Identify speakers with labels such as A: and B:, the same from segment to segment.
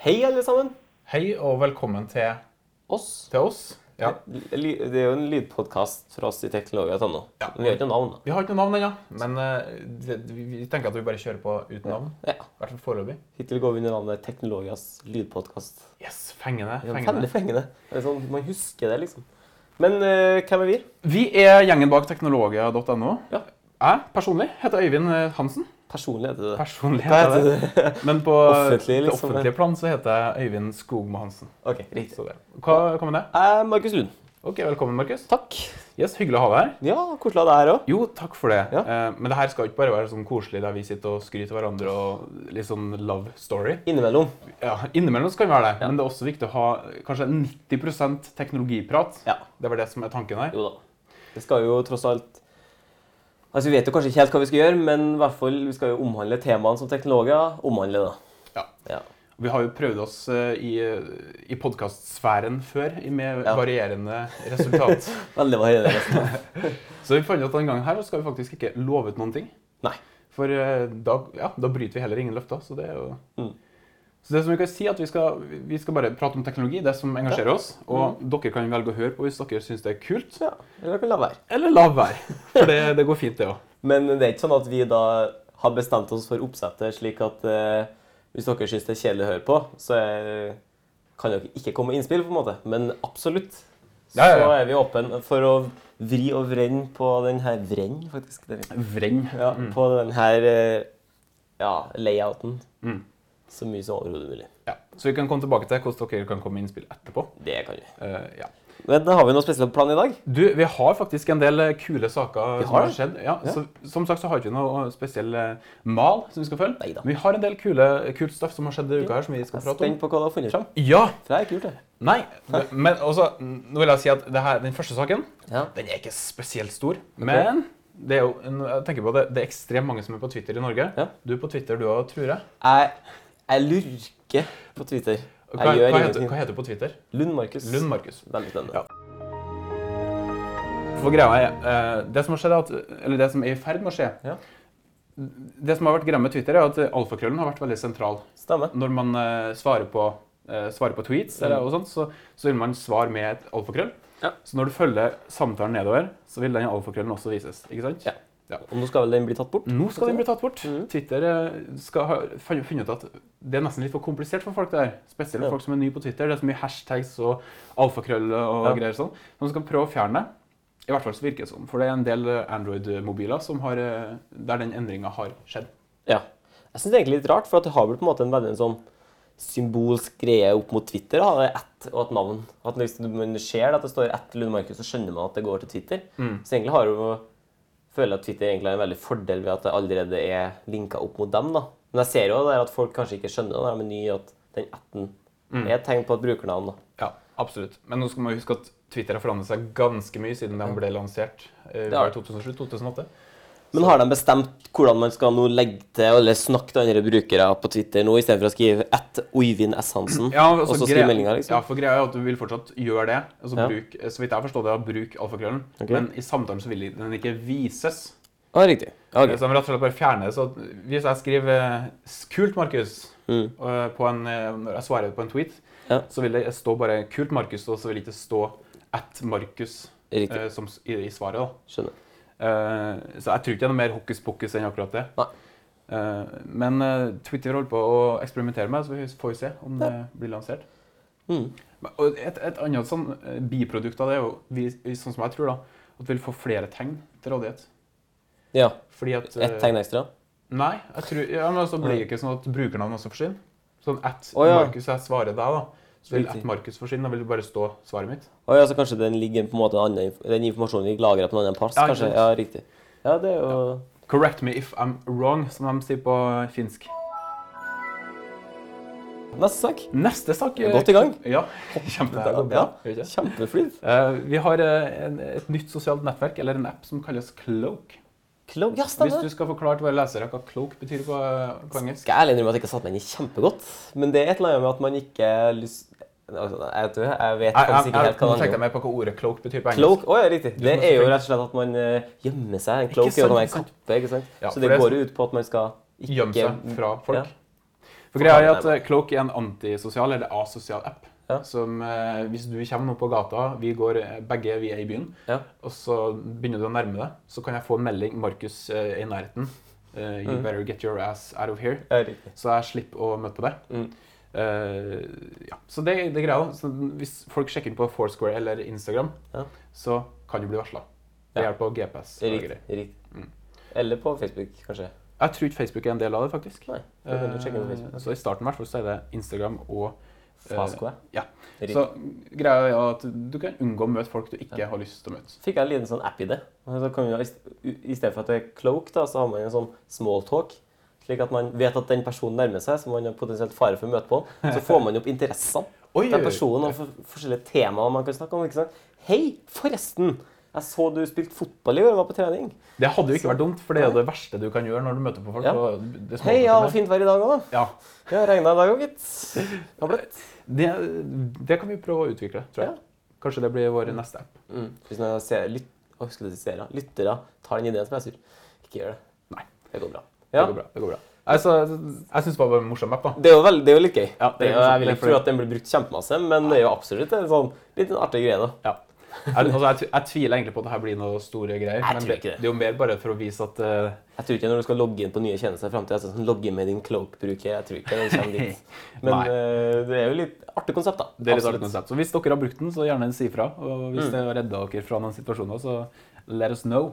A: Hei, alle sammen.
B: Hei og velkommen til,
A: Oss.
B: til oss. Ja.
A: Ly- Det er jo en lydpodkast fra oss i Teknologiatano.
B: Ja.
A: Men vi har ikke noe navn, da.
B: Vi har ikke noe navn ennå, men eh, det, vi vi tenker at vi bare kjører på uten navn.
A: Ja.
B: I hvert fall foreløpig.
A: Hittil går vi under navnet Teknologias lydpodkast.
B: Yes, fengende.
A: Det er Veldig
B: fengende.
A: fengende. Det er sånn, man husker det, liksom. Men eh, hvem er vi?
B: Vi er gjengen bak teknologia.no.
A: Ja.
B: Jeg personlig heter Øyvind eh, Hansen.
A: Personlig heter det.
B: Personlig
A: Hva
B: heter jeg det.
A: heter det?
B: Men på
A: Offentlig,
B: det
A: liksom.
B: offentlige plan så heter jeg Øyvind Skogmo Hansen.
A: OK, riktig.
B: Så det. Hva, hva med det?
A: Jeg er Markus Lund.
B: Ok, Velkommen, Markus.
A: Takk.
B: Yes, Hyggelig å ha deg her.
A: Ja, koselig å ha deg her òg.
B: Jo, takk for det.
A: Ja.
B: Eh, Men det her skal jo ikke bare være sånn koselig der vi sitter og skryter hverandre og litt sånn love story.
A: Innimellom.
B: Ja, Innimellom så kan vi være det, men det er også viktig å ha kanskje 90 teknologiprat.
A: Ja.
B: Det var det som er tanken her.
A: Jo da. Det skal jo tross alt Altså, Vi vet jo kanskje ikke helt hva vi skal gjøre, men i hvert fall, vi skal jo omhandle temaene som teknologer omhandler. da.
B: Ja.
A: Ja.
B: Vi har jo prøvd oss eh, i, i podkastsfæren før i- med
A: Ja.
B: varierende resultat.
A: Veldig varierende. nesten.
B: så vi fant ut at denne gangen her så skal vi faktisk ikke love ut noen ting.
A: Nei.
B: For eh, da, ja, da bryter vi heller ingen løfter. Så det er jo...
A: Mm.
B: Så det som vi kan si er at vi skal, vi skal bare prate om teknologi, det som engasjerer oss. Og
A: Mm.
B: dere kan velge å høre på hvis dere syns det er kult.
A: Ja, eller jeg kan la være.
B: Eller la være. For det, det går fint, det òg.
A: Men det er ikke sånn at vi da har bestemt oss for oppsettet, slik at eh, hvis dere syns det er kjedelig å høre på, så eh, kan dere ikke komme med innspill, på en måte. Men absolutt.
B: Ja, ja,
A: Så
B: ja.
A: er vi åpne for å vri og vrenne på den her Vrenn, faktisk. Det er vi.
B: Vreng.
A: Ja, På den her eh, ja, layouten.
B: Mm.
A: Så mye som overhodet mulig.
B: Ja, Så vi kan komme tilbake til hvordan dere kan komme med innspill etterpå.
A: Det kan vi.
B: Eh, ja.
A: Men da har vi noe spesielt plan i dag.
B: Du, vi har faktisk en del eh, kule saker
A: Vi
B: som
A: har
B: har
A: det?
B: skjedd. Ja, Så, som sagt så har vi ikke noe spesiell eh, mal som vi skal følge.
A: Neida.
B: Men vi har en del kule, eh, kult stoff som har skjedd denne uka her, som vi
A: Jeg
B: skal
A: er
B: prate om.
A: spent på hva du har funnet fram.
B: Ja!
A: For det er kult, det.
B: Nei. Men også, nå vil jeg si at det her, den første saken,
A: Ja.
B: den er ikke spesielt stor. Men det er jo, en- jeg tenker på det, det er ekstremt mange som er på Twitter i Norge.
A: Ja.
B: Du er på Twitter, du òg, tror jeg.
A: Jeg, jeg lurker på Twitter. Jeg
B: Hva,
A: gjør
B: hva, heter,
A: ingenting.
B: hva heter du på Twitter?
A: Lund Markus.
B: Lund Markus.
A: Veldig spennende.
B: Ja. For greia er, eh, det som har skjedd er at, eller det som er i ferd med å skje
A: Ja.
B: Det som har vært greia med Twitter, er at alfakrøllen har vært veldig sentral.
A: Stemmer.
B: Når man eh, svarer, på, eh, svarer på tweets, eller, og sånt, så, så vil man svare med et alfakrøll.
A: Mm. Ja.
B: Så når du følger samtalen nedover, så vil den alfakrøllen også vises. ikke sant?
A: Ja. Og nå skal vel den bli tatt bort?
B: Nå skal den bli tatt bort.
A: Mhm.
B: Twitter eh, skal ha fun- funnet ut at det er nesten litt for komplisert for folk. det her. Spesielt
A: Ja.
B: folk som er nye på Twitter. Det er så mye hashtags og alfakrøll og
A: Ja.
B: greier sånn. Så man skal prøve å fjerne det. I hvert fall så virker det sånn. For det er en del eh, Android-mobiler som har, eh, der den endringa har skjedd.
A: Ja. Jeg syns det er egentlig litt rart, for at det har vel på en måte en veldig sånn symbolsk greie opp mot Twitter. Da. Det er ett og et navn. At Hvis man ser at det står ett Lund Markus, så skjønner man at det går til Twitter.
B: Mm.
A: Så egentlig har jo føler jeg at Twitter egentlig har en veldig fordel ved at det allerede er linka opp mot dem. da. Men jeg ser jo der at folk kanskje ikke skjønner det der med ny, at den atten
B: Mm.
A: er et tegn på et brukernavn. da.
B: Ja, absolutt. Men nå skal man huske at Twitter har forandret seg ganske mye siden den ble lansert eh,
A: Det har
B: i 2007-2008.
A: Men har de bestemt hvordan man skal nå legge til eller snakke til andre brukere på Twitter nå, istedenfor å skrive ett Oivind S. Hansen,
B: Ja,
A: Mm.
B: altså,
A: og så skrive meldinger, liksom?
B: Ja, for greia er at du vil fortsatt gjøre det. Altså,
A: Ja.
B: bruk, så vidt jeg forstår det, bruk alfakrøllen.
A: Ok.
B: Men i samtalen så vil den ikke vises.
A: Ja, riktig. Ja, ok.
B: Så de rett og slett bare fjerner det. Så at hvis jeg skriver eh, 'Kult, Markus' eh, på en, eh, når jeg svarer på en tweet,
A: Mm. Ja.
B: så vil det stå bare 'Kult, Markus', og så vil det ikke stå 'at Markus'
A: Riktig.
B: eh, som, s- i, i svaret. da.
A: Skjønner.
B: Eh, så jeg tror ikke det er noe mer hokus pokus enn akkurat det.
A: Nei.
B: Eh, men eh, Twitter holder på å eksperimentere med det, så vi får vi se om det blir lansert.
A: Mm.
B: Men- Og et, et annet sånn eh, biprodukt av det er jo, vi, vi- sånn som jeg tror, da, at vi vil få flere tegn til rådighet.
A: Ja.
B: Fordi at eh,
A: Ett tegn ekstra?
B: Nei. jeg tror, ja, men så blir det ikke sånn at brukernavn også forsvinner. Sånn at
A: Å, ja.
B: Markus jeg svarer deg, da. Så vil at
A: Riktig.
B: Markus forsvinne. Da vil det bare stå svaret mitt.
A: Å ja, så kanskje den ligger på en måte en annen, inf- den informasjonen ligger lagret på en annen plass? Ja,
B: Ja, ikke
A: kanskje?
B: sant.
A: Ja, riktig. Ja, det er jo
B: Correct me if I'm wrong, som de sier på finsk.
A: Neste sak.
B: Neste sak eh,
A: Vi er godt i gang.
B: Ja. Kjempe, det går bra.
A: Ja.
B: gjør det ikke?
A: Kjempeflyt.
B: Eh, vi har eh, en, et nytt sosialt nettverk, eller en app, som kalles Cloak.
A: Klog. Ja,
B: Hvis
A: stemmer.
B: du skal forklare til våre lesere hva Cloak betyr på, på engelsk
A: Skal jeg ærlig innrømme at jeg ikke har satt meg inn i kjempegodt, men det er et eller annet med at man ikke har lyst Altså, jeg, tror, jeg vet
B: Jeg,
A: faktisk
B: jeg,
A: ikke
B: jeg,
A: helt hva
B: nå
A: det
B: tenkte
A: handler
B: jeg
A: om.
B: mer på hva ordet 'cloak' betyr på engelsk.
A: Cloak, oh, ja, riktig. Det
B: som
A: er jo
B: spring.
A: rett og slett at man eh, gjemmer seg. En cloak
B: Ikke
A: er jo
B: sant,
A: noe man
B: ikke sant.
A: kapper, ikke sant?
B: Ja, for
A: så det
B: det er
A: går jo ut på at man skal ikke
B: Gjemme seg fra folk.
A: Ja.
B: For greia er at eh, Cloak er en antisosial eller asosial app.
A: Ja.
B: Som eh, Hvis du kommer nå på gata, vi går eh, begge vi er i byen,
A: Ja.
B: og så begynner du å nærme deg, så kan jeg få en melding 'Markus eh, er i nærheten'. Eh, you
A: Mm.
B: better get your ass out of here.
A: Ja, riktig.
B: Så jeg slipper å møte på det.
A: Mm.
B: Eh, ja. Så det, det er greia. da. Så hvis folk sjekker inn på Foursquare eller Instagram,
A: Ja.
B: så kan du bli varsla. Ved
A: Ja.
B: hjelp av GPS. og
A: Riktig.
B: greier.
A: riktig.
B: Mm.
A: Eller på Facebook, kanskje.
B: Jeg tror ikke Facebook er en del av det, faktisk.
A: Nei, du kan jo sjekke inn på
B: Eh,
A: Facebook.
B: Så i starten i hvert fall så er det Instagram og eh,
A: Fasko,
B: ja.
A: Riktig.
B: Så greia er at du kan unngå å møte folk du ikke
A: Ja.
B: har lyst til å møte.
A: fikk jeg en liten sånn app-idé. Så kan vi ha- I stedet for at det er cloak, da, så har man en sånn small talk. Slik at man vet at den personen nærmer seg, som man har potensielt fare for å møte på. Så får man opp interessene
B: Oi,
A: til den personen og for, forskjellige temaer man kan snakke om. ikke sant? Hei, forresten! Jeg så du spilte fotball i år, jeg var på trening.
B: Det hadde jo ikke vært dumt, for det er jo det verste du kan gjøre når du møter på folk.
A: Ja.
B: og det
A: Hei, ja,
B: småfolkene.
A: fint vær i dag òg, da.
B: ja.
A: Ja, regna i dag òg, gitt. Det var bløtt.
B: Det, det kan vi prøve å utvikle, tror jeg.
A: Ja.
B: Kanskje det blir vår neste app.
A: Mm. Hvis noen ser, lyt, å, skulle jeg si seere, lyttere tar den ideen som jeg sier, ikke gjør det.
B: Nei.
A: Det går bra.
B: Det
A: Ja.
B: går bra. det går bra. Altså, jeg syns det var en morsom app, da.
A: Det er jo, veldig, det er jo litt gøy.
B: Ja,
A: det er jo,
B: sant.
A: jeg vil
B: Det er
A: ikke
B: fordi-
A: tro at den blir brukt kjempemasse, men det er jo absolutt en sånn liten artig greie. da.
B: Ja. Jeg, altså, jeg, tv- jeg tviler egentlig på at det her blir noe store greier.
A: Jeg
B: men
A: tror ikke det.
B: det er jo mer bare for å vise at eh,
A: Jeg tror ikke når du skal logge inn på nye tjenester i fremtiden, så er det sånn, logge inn med din cloak-bruker. Jeg tror ikke den kommer dit. Men
B: Nei.
A: eh, det er jo litt artig konsept, da.
B: Det er
A: Absolutt.
B: litt
A: Mm.
B: artig konsept. Så hvis dere har brukt den, så gjerne si fra. Og hvis det har redda dere fra noen situasjoner, så let us know.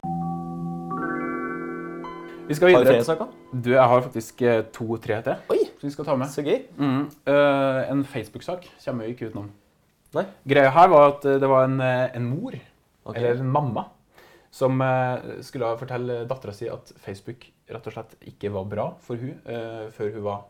B: Vi skal
A: Har vi
B: videre.
A: flere snakker?
B: Du, jeg har faktisk eh, to-tre til
A: Oi,
B: som vi skal ta med.
A: så gøy.
B: Mhm. Eh, en Facebook-sak kommer vi ikke utenom.
A: Nei.
B: Greia her var at eh, det var en, eh, en mor,
A: Ok.
B: eller en mamma, som eh, skulle fortelle dattera si at Facebook rett og slett ikke var bra for hun eh, før hun var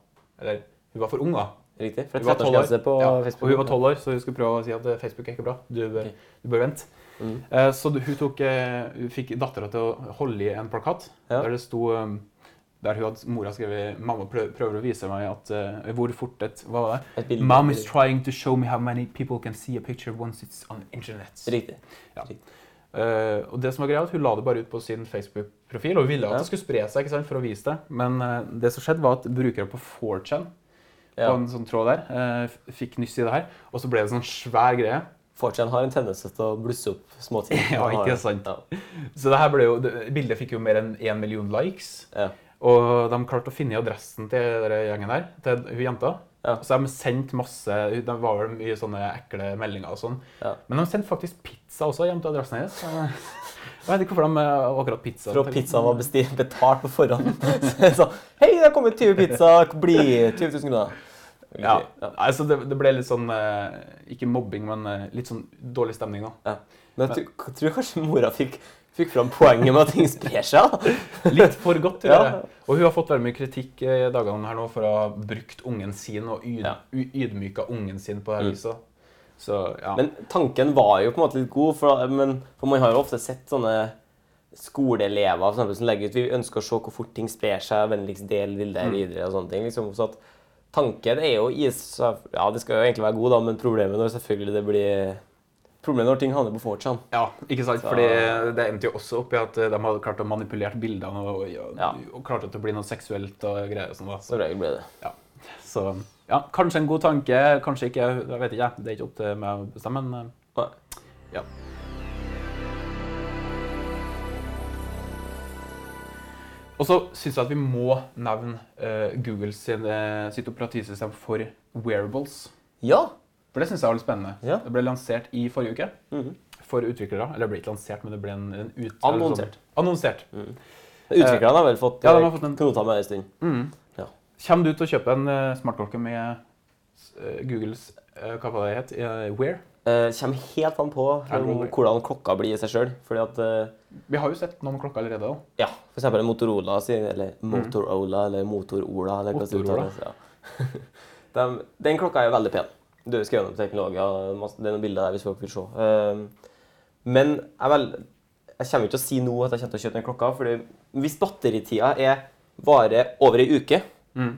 B: Eller hun var for ung, da.
A: Riktig. For det
B: Hun var
A: er 13-årsgrense
B: 12 år.
A: på
B: Ja,
A: Facebook.
B: Og hun var tolv år, så hun skulle prøve å si at eh, Facebook er ikke bra. Du bør,
A: Ok.
B: du bør vente.
A: Mm.
B: Eh, Så du- hun tok, eh, hun fikk dattera til å holde i en plakat
A: Ja.
B: der det sto eh, der hun hadde, mora skrevet 'Mamma prø- prøver å vise meg at eh, hvor fort et Hva var det?
A: Et bilde.
B: 'Mom is trying to show me how many people can see a picture once it's on internet'.
A: Riktig.
B: Eh, og det som var greia, at Hun la det bare ut på sin Facebook-profil, og hun ville at
A: Ja.
B: det skulle spre seg. ikke sant, for å vise det. Men eh, det som skjedde, var at brukere på 4chan
A: Ja.
B: på en sånn tråd der, eh, f- fikk nyss i det her, og så ble det en sånn svær greie.
A: Fortsatt har en tendens til å blusse opp småting.
B: Ja, ikke sant.
A: Ja.
B: Så det her ble jo, det, bildet fikk jo mer enn én million likes.
A: Ja.
B: Og de klarte å finne adressen til denne gjengen her, til hun jenta.
A: Ja.
B: Så de sendte masse De var vel mye sånne ekle meldinger og sånn.
A: Ja.
B: Men de sendte faktisk pizza også hjem til adressen hennes. Så Jeg vet ikke hvorfor de eh, akkurat pizza.
A: Fra pizzaen var bestilt, betalt på forhånd. Så jeg sa Hei, det har kommet 20 pizzaer. Bli 20 000 kroner. Ok,
B: Ja.
A: ja.
B: Altså, det, det ble litt sånn eh, Ikke mobbing, men eh, litt sånn dårlig stemning, da.
A: Ja. Men jeg tror, jeg tror kanskje mora fikk, fikk fram poenget med at ting sprer seg. da.
B: Litt for godt, tror jeg.
A: Ja.
B: Og hun har fått veldig mye kritikk eh, i dagene her nå for å ha brukt ungen sin og yd
A: Ja.
B: u- ydmyka ungen sin på det her
A: Mm.
B: viset. Så ja.
A: Men tanken var jo på en måte litt god, for, da- men, for man har jo ofte sett sånne skoleelever for eksempel, som legger ut Vi ønsker å se hvor fort ting sprer seg, vennligst del
B: Mm.
A: bildet videre og sånne ting. liksom, så at Tanken er jo i seg Ja, det skal jo egentlig være god, da, men problemet når selvfølgelig det blir Problemet når ting handler på fortsatt.
B: ja, ikke sant?
A: Så-
B: Fordi eh, det endte jo også opp i at eh, de hadde klart å manipulere bildene og, og,
A: Ja.
B: og klarte at det blir noe seksuelt og greier og sånn. da.
A: Som regel blir det.
B: Så, så ja, kanskje en god tanke, kanskje ikke. Jeg vet ikke, jeg. det er ikke opp til meg å bestemme. men... eh,
A: Nei.
B: Ja. Og så syns jeg at vi må nevne eh, Google sin, eh, sitt operativsystem for wearables.
A: Ja.
B: For det syns jeg var litt spennende.
A: Ja.
B: Det ble lansert i forrige uke
A: Mhm.
B: for utviklere. Eller det ble ikke lansert, men det ble en, en ut...
A: Annonsert. Mm.
B: Sånn. Annonsert.
A: Utviklerne Eh, har vel fått,
B: Ja, de har fått en-
A: knota med en stund.
B: Kommer Mm. du til å kjøpe en eh, smartklokke med eh, Googles eh, hva var det het? Eh, Wear?
A: Uh, kommer helt an på om
B: Android.
A: hvordan klokka blir i seg sjøl. Fordi at eh,
B: Vi har jo sett noen klokker allerede. da.
A: Ja, for eksempel en Motorola sin, eller Motorola, eller Motorola, eller hva det
B: Motorola.
A: uttales. Ja. Den, den klokka er jo veldig pen. Du husker gjennom teknologer, og masse- det er noen bilder der hvis folk vil se. Ehm, Men jeg, vel, jeg kommer ikke til å si nå at jeg kommer til å kjøpe den klokka, fordi hvis batteritida er varer over ei uke,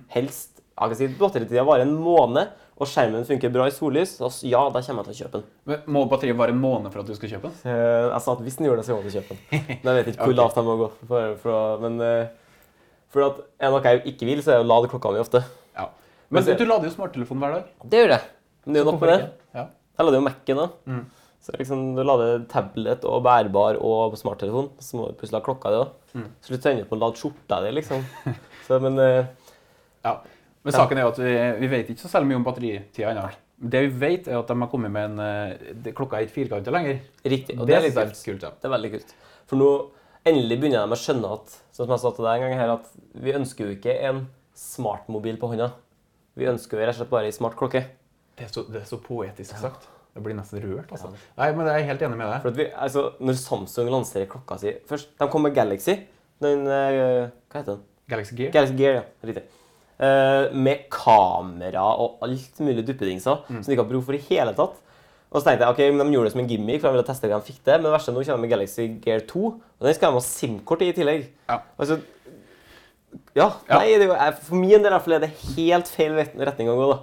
A: helst jeg kan si at Batteritida varer en måned, og skjermen funker bra i sollys, så ja, da kommer jeg til å kjøpe den.
B: Men Må batteriet vare en måned for at du skal kjøpe den?
A: Eh, jeg sa at hvis den gjør det, så må du kjøpe den. Men jeg vet ikke hvor
B: Ok.
A: lavt jeg må gå. For, for, å- men eh, for at er det noe jeg ikke vil, så er det å lade klokka mi ofte.
B: Ja.
A: Men
B: Men
A: det-
B: du lader jo smarttelefonen hver dag.
A: Det gjør jeg. Men det er jo nok
B: Hvorfor
A: med det.
B: ikke? Ja.
A: Jeg lader jo Mac-en da.
B: Mm.
A: Så liksom, du lader tablet og bærbar og smarttelefon. Så må du plutselig ha klokka di òg.
B: Mm.
A: Så du trenger ikke å lade skjorta di, liksom. Så, men eh,
B: Ja. Men saken er jo at vi, vi vet ikke så særlig mye om batteritida ennå. Det vi vet, er at de har kommet med en eh, det, Klokka er ikke firkanta lenger.
A: riktig. Og
B: det
A: det,
B: er litt
A: er litt
B: kult, ja.
A: Det er veldig kult. For nå endelig begynner de å skjønne at sånn som jeg sa til deg en gang her, at vi ønsker jo ikke en smartmobil på hånda. Vi ønsker jo rett og slett bare en smart klokke.
B: Det er så, det er så poetisk sagt. Jeg blir nesten rørt, altså. Nei, men jeg er helt enig med deg.
A: For at vi, altså, Når Samsung lanserer klokka si først De kom med Galaxy. Den, eh, hva heter den?
B: Galaxy Gear.
A: Galaxy Gear, ja. Riktig. Eh, med kamera og alt mulig duppedingser
B: Mm.
A: som de ikke har bruk for i hele tatt. Og så tenkte jeg, ok, men De gjorde det som en gimmick, for de ville teste hva de fikk til. Men det verste er nå kommer de med Galaxy Gear 2, og den skal de ha SIM-kort i i tillegg.
B: Ja.
A: Altså, ja,
B: Ja.
A: nei, det er jo, jeg- for min del i hvert fall er det helt feil vet- retning å gå. da.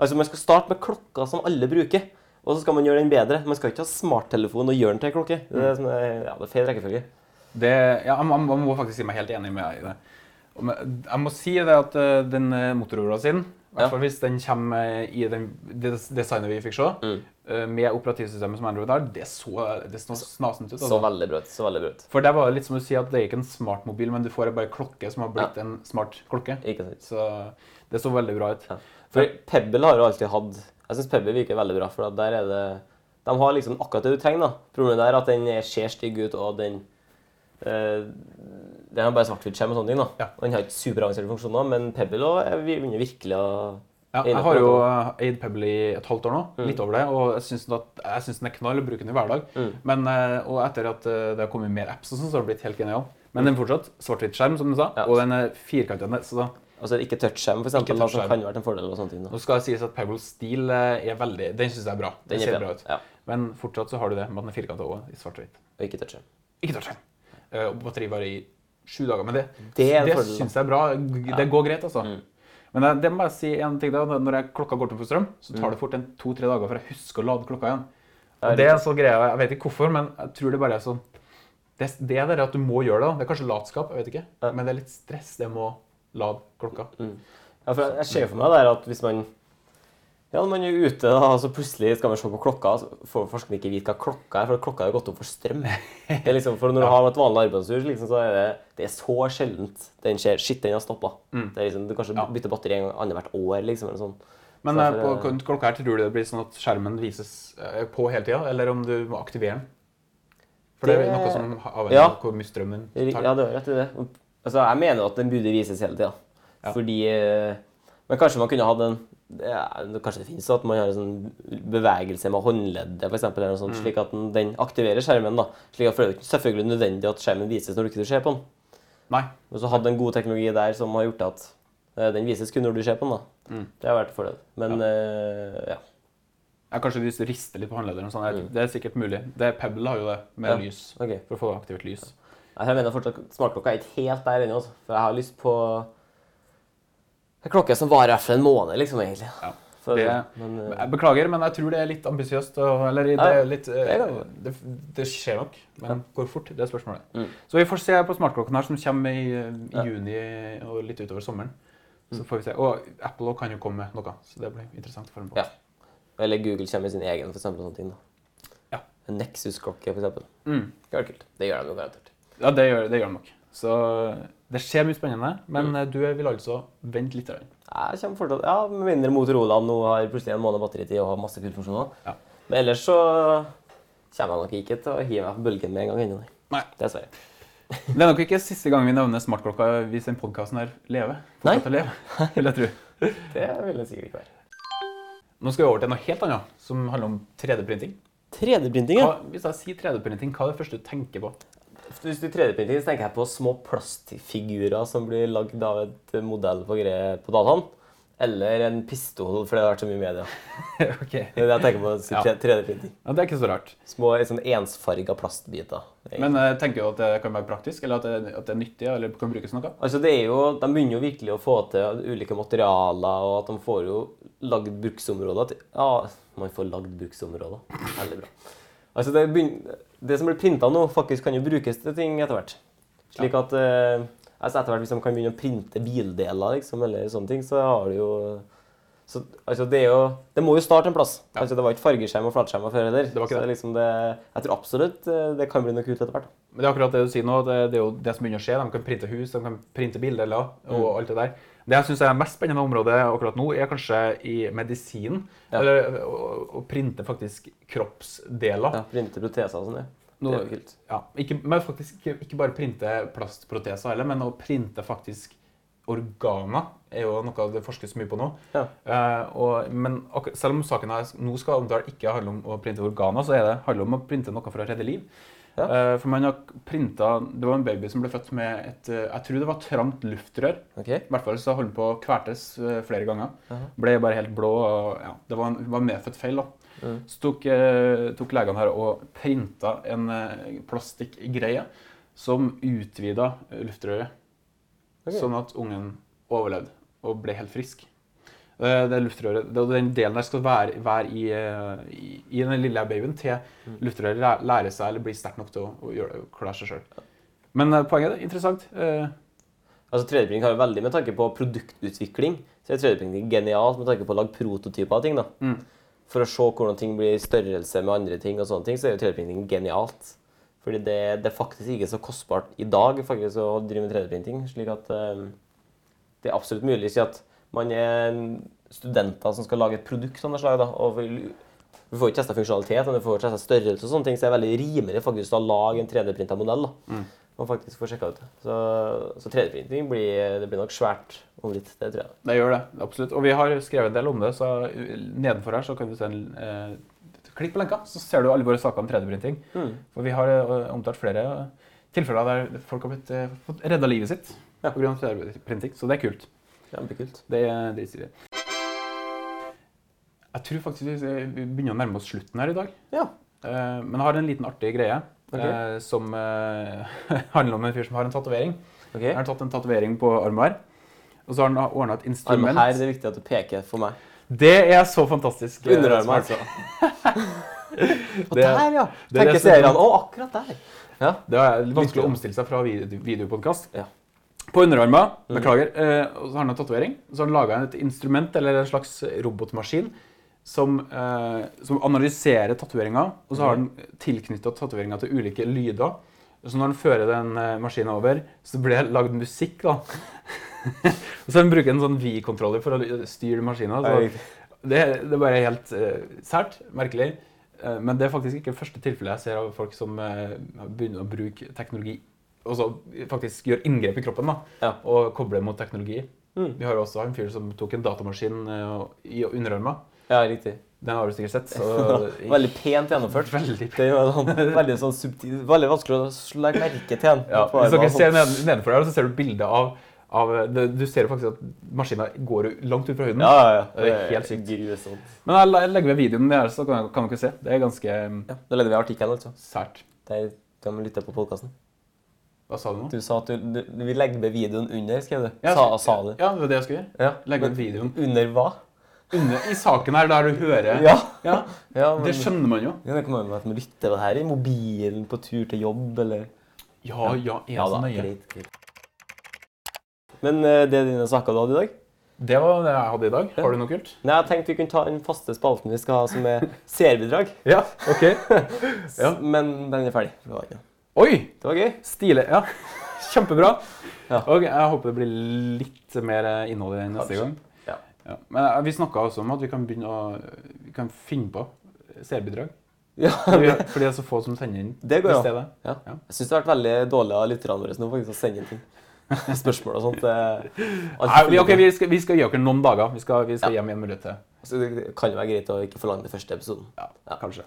A: Altså, Man skal starte med klokka som alle bruker, og så skal man gjøre den bedre. Man skal ikke ha smarttelefon og gjøre den til en klokke. Det er, sånn, eh, ja, det er feil rekkefølge.
B: Mm. Det, ja, jeg, må- jeg må faktisk si meg helt enig med deg i det. Og men Jeg må si det at eh, den eh, motorrora sin, i
A: Ja.
B: hvert fall hvis den kommer eh, i den, det designet vi fikk se, eh, med operativsystemet som Android har, det så, det så snasent ut.
A: Så
B: Altså.
A: veldig bra ut. så veldig bra ut.
B: For der var det litt som du sier at det er ikke en smart mobil, men du får bare klokke som har blitt en smart klokke.
A: Ikke sant?
B: Så det så veldig bra ut.
A: Ja. For Pebble har jo alltid hatt Jeg syns Pebble virker veldig bra, for at der er det De har liksom akkurat det du trenger, da. Problemet der er at den er- ser stygg ut, og den eh, Den har bare svart-hvitt-skjerm og sånne ting, da.
B: Ja.
A: Og den har ikke superavanserte funksjoner, men Pebble også er vi begynner virkelig å
B: Ja,
A: Enig Mm. på
B: jeg har
A: det,
B: jo Aid Pebble i et halvt år nå, litt over det, og jeg syns den, at- jeg synes den er knall å bruke den i hverdag.
A: Mm.
B: Men, eh, og etter at eh, det har kommet mer apps og sånn, så har det blitt helt genial. Men den er fortsatt svart-hvitt skjerm, som du sa,
A: Mm. Ja.
B: og den er firkantende. Så da,
A: Altså ikke touch-skjerm, for eksempel,
B: Ikke
A: da, som
B: touch-skjerm.
A: kan være en fordel og sånne ting. da.
B: nå skal det sies at Pebbles stil eh, er veldig Den syns jeg er bra.
A: Den
B: Den,
A: er bra.
B: ser bra ut.
A: Ja,
B: Men fortsatt så har du det med at den er firkanta òg, i svart-hvitt.
A: og ikke touch-skjerm.
B: Ikke touchskjerm. Eh, Og batteri varer i sju dager. Men det,
A: Det er en
B: det
A: fordel, da. Mm.
B: syns jeg er bra. Det går greit, altså. Men det, det må jeg si en ting da. Når jeg, klokka går tom for strøm, så
A: Mm.
B: tar det fort en to-tre dager før jeg husker å lade klokka igjen. Og det er en sånn greie, Jeg vet ikke hvorfor, men jeg tror det bare er sånn Det, det er det at du må gjøre det. da. Det er kanskje latskap, jeg vet ikke.
A: Ja. Mm,
B: Men det er litt stress. Det må lade klokka.
A: Ja, for jeg- jeg ser for meg der at hvis man ja, når man er ute, da, og så plutselig skal man se på klokka, så får forskerne ikke vite hva klokka er, for klokka har gått opp for strøm. Det er liksom, for når du har et vanlig arbeidshus, liksom, så er det, det er så sjeldent den skjer. Shit, den har stoppa. Det er Liksom, du kanskje
B: Mm. Ja.
A: bytter batteri en gang annethvert år, liksom. eller sånn.
B: Men
A: Så
B: eh, på
A: derfor er-
B: kl- klokka her tror du det blir sånn at skjermen vises eh, på hele tida, eller om du må aktivere den? For det, er
A: Det-
B: noe som avhenger
A: Ja.
B: av hvor mye strøm den
A: Ri-
B: tar.
A: Ja, du har rett i det. Altså, jeg mener jo at den burde vises hele tida. Fordi eh, Men kanskje man kunne hatt en det er, det- Kanskje det finnes at man har en sånn bevegelse med håndleddet, for eksempel, eller noe sånt, slik at den, den aktiverer skjermen. da. Slik at for det er jo ikke selvfølgelig nødvendig at skjermen vises når du ikke ser på den.
B: Nei.
A: Men så hadde en god teknologi der som har gjort at eh, den vises kun når du ser på den. da. Det har vært en fordel. Men eh, ja.
B: Ja, kanskje hvis du rister litt på håndleddet. eller noe sånt, Det er- Det er sikkert mulig. Det, Pebble har jo det, med
A: Mm. Ja.
B: lys.
A: ok.
B: For å få aktivert lys.
A: Nei, Jeg mener fortsatt at smartklokka er ikke helt der ennå. altså. For jeg har lyst på en klokke som varer i hvert fall en måned, liksom, egentlig.
B: Ja.
A: For,
B: Det-
A: men, eh,
B: Jeg beklager, men jeg tror det er litt ambisiøst. og- Eller det,
A: Ja, ja.
B: er litt,
A: Det
B: eh,
A: kan
B: det, det skjer nok, men går fort. Det er spørsmålet.
A: Mm.
B: Så vi får se på smartklokken her, som kommer i, eh, i
A: Ja. Mm.
B: juni og litt utover sommeren. Så får vi se. Og Apple også kan jo komme med noe, så det blir interessant. å følge med på.
A: Ja. eh, eller Google kommer med sin egen, for eksempel. Sånne ting, da.
B: Ja.
A: En Nexus-klokke, for eksempel.
B: Mm.
A: Det var kult. Det gjør de jo garantert.
B: Ja, det gjør, det gjør det nok. Så eh, det skjer mye spennende, men
A: Mm.
B: eh, du vil altså vente litt. grann.
A: Jeg kommer fortsatt, ja, Med mindre Motorola nå har plutselig en måned batteritid og har masse kule funksjoner.
B: Ja.
A: Men ellers så kommer jeg nok ikke til å hive meg på bølgen med en gang ennå. nei.
B: Nei.
A: Dessverre.
B: Det er nok ikke siste gang vi nevner smartklokka hvis den podkasten her lever.
A: Nei.
B: Fortsetter å leve, vil jeg tro.
A: Det vil det sikkert ikke være.
B: Nå skal vi over til noe helt annet, som handler om 3D-printing.
A: 3D-printing, ja.
B: Hva, hvis jeg sier 3D-printing, hva er det første du tenker på?
A: Hvis du 3D-printer, så tenker jeg på små plastfigurer som blir lagd av et modell på, greie på dataen. Eller en pistol, for det har vært så mye i media.
B: ok.
A: Det er det jeg tenker på. så
B: Ja.
A: tre- 3D-printing.
B: Ja, det er ikke så rart.
A: Små sånn ensfarga plastbiter. egentlig.
B: Men eh, tenker du at det kan være praktisk, eller at det, at det er nyttig, eller kan brukes til noe?
A: Altså, det er jo, De begynner jo virkelig å få til ulike materialer, og at de får jo lagd bruksområder til Ja, man får lagd bruksområder. Veldig bra. Altså, Det, begyn- det som blir printa nå, faktisk kan jo brukes til ting etter hvert. Slik at eh, altså etter hvert Hvis de kan begynne å printe bildeler, liksom, eller sånne ting, så har du jo så, altså Det er jo, det må jo starte en plass.
B: Ja.
A: Altså Det var ikke fargeskjerm og flatskjermer før heller.
B: Det var
A: så
B: ikke det.
A: liksom det, jeg tror absolutt eh, det kan bli noe kult etter hvert.
B: Men det er akkurat det du sier nå. Det, det er jo det som begynner å skje. De kan printe hus, de kan printe bildeler og alt det der. Det jeg syns er det mest spennende området akkurat nå, er kanskje i medisinen.
A: Ja.
B: Eller å, å printe faktisk kroppsdeler.
A: Ja, Printe proteser og sånn. Ja. Det er jo kult.
B: Ja, ikke, men faktisk ikke, ikke bare printe plastproteser heller, men å printe faktisk organer er jo noe det forskes mye på nå.
A: Ja.
B: Eh, og, men akkur- selv om saken her nå skal omtale ikke handle om å printe organer, så er det, handler det om å printe noe for å redde liv.
A: Ja.
B: Eh, for man har printa Det var en baby som ble født med et eh, Jeg tror det var trangt luftrør.
A: Ok.
B: I hvert fall så holdt den på å kvertes eh, flere ganger.
A: Jaha.
B: Ble bare helt blå. og ja, Det var en, var en medfødt feil. da.
A: Mhm.
B: Så tok, eh, tok legene her og printa en eh, plastikkgreie som utvida luftrøret,
A: Ok.
B: sånn at ungen overlevde og ble helt frisk. Eh, Det luftrøret, det, Den delen der skal være, være i, eh, i, i den lille babyen til luftrøret læ- lærer seg eller blir sterkt nok til å, å gjøre, klare seg sjøl. Men eh, poenget er interessant. Eh,
A: Altså 3D-printing har jo veldig med tanke på produktutvikling. Så er 3D-printing genialt med tanke på å lage prototyper av ting. da.
B: Mm.
A: For å se hvordan ting blir i størrelse med andre ting, og sånne ting, så er jo 3D-printing genialt. Fordi det, det er faktisk ikke så kostbart i dag faktisk å drive med 3D-printing. slik at eh, det er absolutt mulig. Si at man er studenter som skal lage et produkt av noe slag. da, og vil- Du får ikke testa funksjonalitet, men du får testa størrelse og sånne ting, så det er veldig rimeligere faktisk å lage en 3D-printa modell. da man faktisk får sjekka ut. Så, så 3D-printing blir, det blir nok svært om litt. Det tror jeg.
B: Det gjør det, absolutt. Og vi har skrevet en del om det, så nedenfor her så kan du se en eh, Klikk på lenka, så ser du alle våre saker om 3D-printing.
A: Mm.
B: For vi har eh, omtalt flere tilfeller der folk har blitt, eh, fått redda livet sitt
A: Ja.
B: pga. 3D-printing, så det er kult.
A: Ja, det blir kult.
B: Det er dritstilig. Jeg tror faktisk vi vi begynner å nærme oss slutten her i dag.
A: Ja.
B: Eh, Men jeg har en liten artig greie
A: Ok.
B: eh, som eh, handler om en fyr som har en tatovering.
A: Ok.
B: Han har tatt en tatovering på armen her, og så har han ordna et instrument.
A: Armen her, det er viktig at du peker for meg.
B: Det er så fantastisk. eh,
A: Underarmen,
B: smart.
A: altså. Og
B: Det,
A: der, ja!
B: det er
A: Tenker
B: det som-
A: seerne. Å, akkurat der.
B: det er litt vanskelig å omstille seg fra video, videopodkast.
A: Ja. Mm.
B: På underarmen, beklager, eh, og så har han en tatovering. Så har han laga et instrument, eller en slags robotmaskin, som, eh, som analyserer tatoveringa. Og så har
A: Mm.
B: han tilknytta tatoveringa til ulike lyder. Så når han fører den eh, maskinen over, så blir det lagd musikk, da. og så har han bruker en sånn Vi-kontroller for å styre maskinen. Så
A: Oi.
B: Det, det er bare helt eh, sært, merkelig. Eh, men det er faktisk ikke første tilfellet jeg ser av folk som eh, begynner å bruke teknologi, og så faktisk gjør inngrep i kroppen da,
A: Ja.
B: og kobler mot teknologi.
A: Mm.
B: Vi har jo også en fyr som tok en datamaskin eh, i underarmen.
A: Ja, riktig.
B: Den har du sikkert sett. Så,
A: Veldig pent gjennomført.
B: Veldig
A: Det er jo sånn, veldig sånn subtil Veldig vanskelig å legge merke til den.
B: Ja,
A: på
B: hvis dere
A: armen.
B: ser ned, nedenfor der, så ser du bildet av, av det, Du ser jo faktisk at maskina går jo langt ut fra huden.
A: ja, ja, ja.
B: Det er helt sykt.
A: Grusomt.
B: Men jeg, jeg legger ved videoen der, så kan, kan dere se. Det er ganske mm,
A: Ja, da leder vi artikkelen, altså.
B: sært.
A: Der de lytter på podkasten.
B: Hva sa du nå?
A: Du sa at du, du vil legge ved videoen under, skrev du.
B: Ja,
A: Sa, sa du.
B: Ja, det var det jeg skulle gjøre.
A: Ja.
B: Legge
A: men
B: ved videoen.
A: Under hva?
B: Under, I saken her, der du hører
A: Ja.
B: ja,
A: ja men,
B: Det skjønner man jo.
A: Ja, det kan være at man lytter på det her i mobilen på tur til jobb, eller
B: Ja, ja, er så nøye.
A: greit, greit. Men eh, det er dine saker du hadde i dag?
B: Det var det jeg hadde i dag. Har du noe kult?
A: Nei, jeg tenkte vi kunne ta den faste spalten vi skal ha, som er seerbidrag.
B: Ja, OK. Ja.
A: Men den er ferdig. for i dag.
B: Oi!
A: Det var gøy.
B: Stilig. Ja, kjempebra.
A: Ja.
B: Og jeg håper det blir litt mer eh, innhold i den neste
A: Kanskje.
B: gang.
A: Ja.
B: Ja. Men eh, vi snakka også om at vi kan begynne å vi kan finne på seerbidrag.
A: Ja,
B: Fordi fordi det er så få som sender inn.
A: Det går
B: hvis
A: an.
B: det er det.
A: Ja.
B: Ja.
A: Jeg syns det har vært veldig dårlig av lytterne våre nå faktisk å sende inn ting. Spørsmål og sånt. Det,
B: Nei, vi, ok, vi, skal, vi skal gi dere noen dager. Vi skal, vi skal gi dem en mulighet til.
A: Så det kan jo være greit å ikke forlange det første episoden.
B: Ja,
A: Ja.
B: kanskje.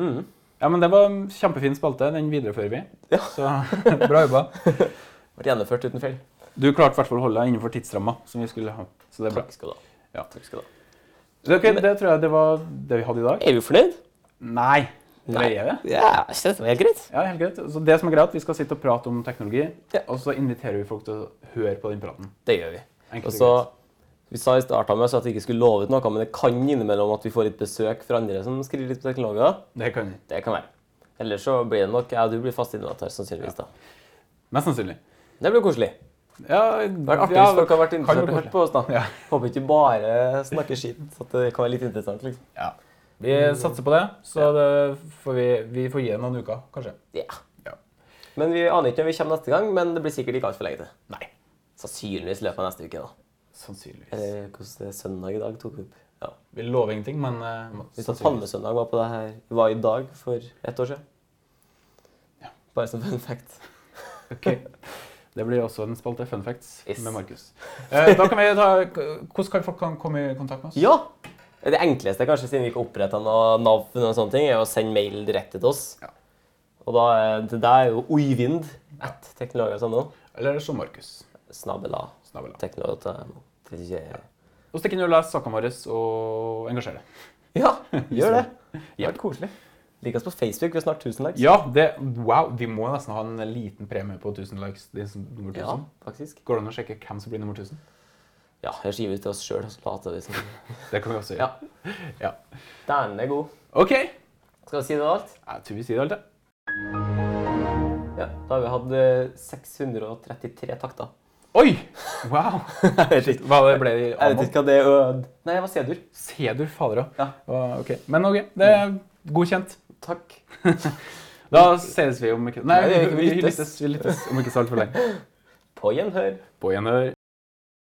A: Mhm.
B: Ja, men Det var en kjempefin spalte. Den viderefører vi.
A: Ja.
B: Så bra jobba.
A: Vært gjennomført uten feil.
B: Du klarte i hvert fall å holde deg innenfor tidsramma som vi skulle ha. Så det er bra.
A: Takk skal du ha.
B: Ja.
A: Takk skal du ha.
B: Så, ok, det tror jeg det var det vi hadde i dag.
A: Er vi fornøyd?
B: Nei. Det er det.
A: Ja, jeg synes det var helt greit.
B: Ja, helt greit. Så det som er greit, Vi skal sitte og prate om teknologi,
A: Ja.
B: og så inviterer vi folk til å høre på den praten.
A: Det gjør vi.
B: Enkelt
A: Og
B: og
A: så,
B: greit.
A: Vi sa i starten med oss at vi ikke skulle love ut noe, men det kan innimellom at vi får litt besøk fra andre som skriver litt på teknologer.
B: Det kan vi.
A: Det kan være. Ellers så blir det nok jeg og du blir fast innvandrer, sannsynligvis. da.
B: Mest sannsynlig.
A: Det blir koselig.
B: Ja,
A: Det har vært artig
B: ja,
A: hvis dere har vært
B: kan
A: interessert
B: bli
A: og hørt på oss. da.
B: Ja.
A: Håper ikke bare snakker skitt. så at det kan være litt interessant. liksom.
B: Ja. Vi satser på det, så det får vi, vi får gi det noen uker, kanskje.
A: Ja.
B: Ja.
A: Men Vi aner ikke når vi kommer neste gang, men det blir sikkert ikke altfor lenge til.
B: Nei.
A: Sannsynligvis i løpet av neste uke. da.
B: Sannsynligvis.
A: Eller Eh, hvordan det er søndag i dag tok vi opp. Ja.
B: Eh, Vi lover ingenting, men eh,
A: Hvis at
B: sannsynligvis.
A: Palmesøndag var på det her, var i dag for ett år siden. Bare som fun fact.
B: Ok. Det blir også en spalte fun facts
A: Yes.
B: med Markus. Eh, da kan vi ta, Hvordan kan folk kan komme i kontakt med oss?
A: Ja! Det enkleste, kanskje siden vi ikke oppretta noe navn, og sånne ting, er å sende mail direkte til oss.
B: Ja.
A: Og da er det der er jo oivind at teknologer.no.
B: Eller som Markus.
A: Snabela
B: Snabel-a.
A: teknologer.no. Det er ikke-
B: Og stikk inn og les sakene våre og engasjer deg.
A: Ja, gjør det.
B: Ja.
A: Det har vært koselig. Lik oss på Facebook. Vi har snart 1000 likes.
B: Ja, det, wow, vi må nesten ha en liten premie på 1000 likes. De som nummer 1000.
A: Ja, faktisk.
B: Går det an å sjekke hvem som blir nummer 1000?
A: Ja, jeg skriver ut til oss sjøl, og så later vi som.
B: Det kan vi også gjøre.
A: Ja. Den er god.
B: Ok,
A: Skal vi si det og alt?
B: jeg tror vi sier det alt, jeg.
A: Ja, da har vi hatt eh, 633 takter.
B: Oi! Wow. Shit, Hva det ble det i
A: Jeg vet
B: Amon?
A: ikke hva det er. ø- Nei, det var C-dur.
B: Sedur fader òg.
A: Ja.
B: Ok, Men ok, det er godkjent.
A: Takk.
B: Da ses vi om ikke Nei,
A: Nei,
B: vi,
A: vi
B: vi, vi
A: lyttes.
B: lyttes vi lyttes om ikke så altfor lenge.
A: På gjenhør.
B: På gjenhør.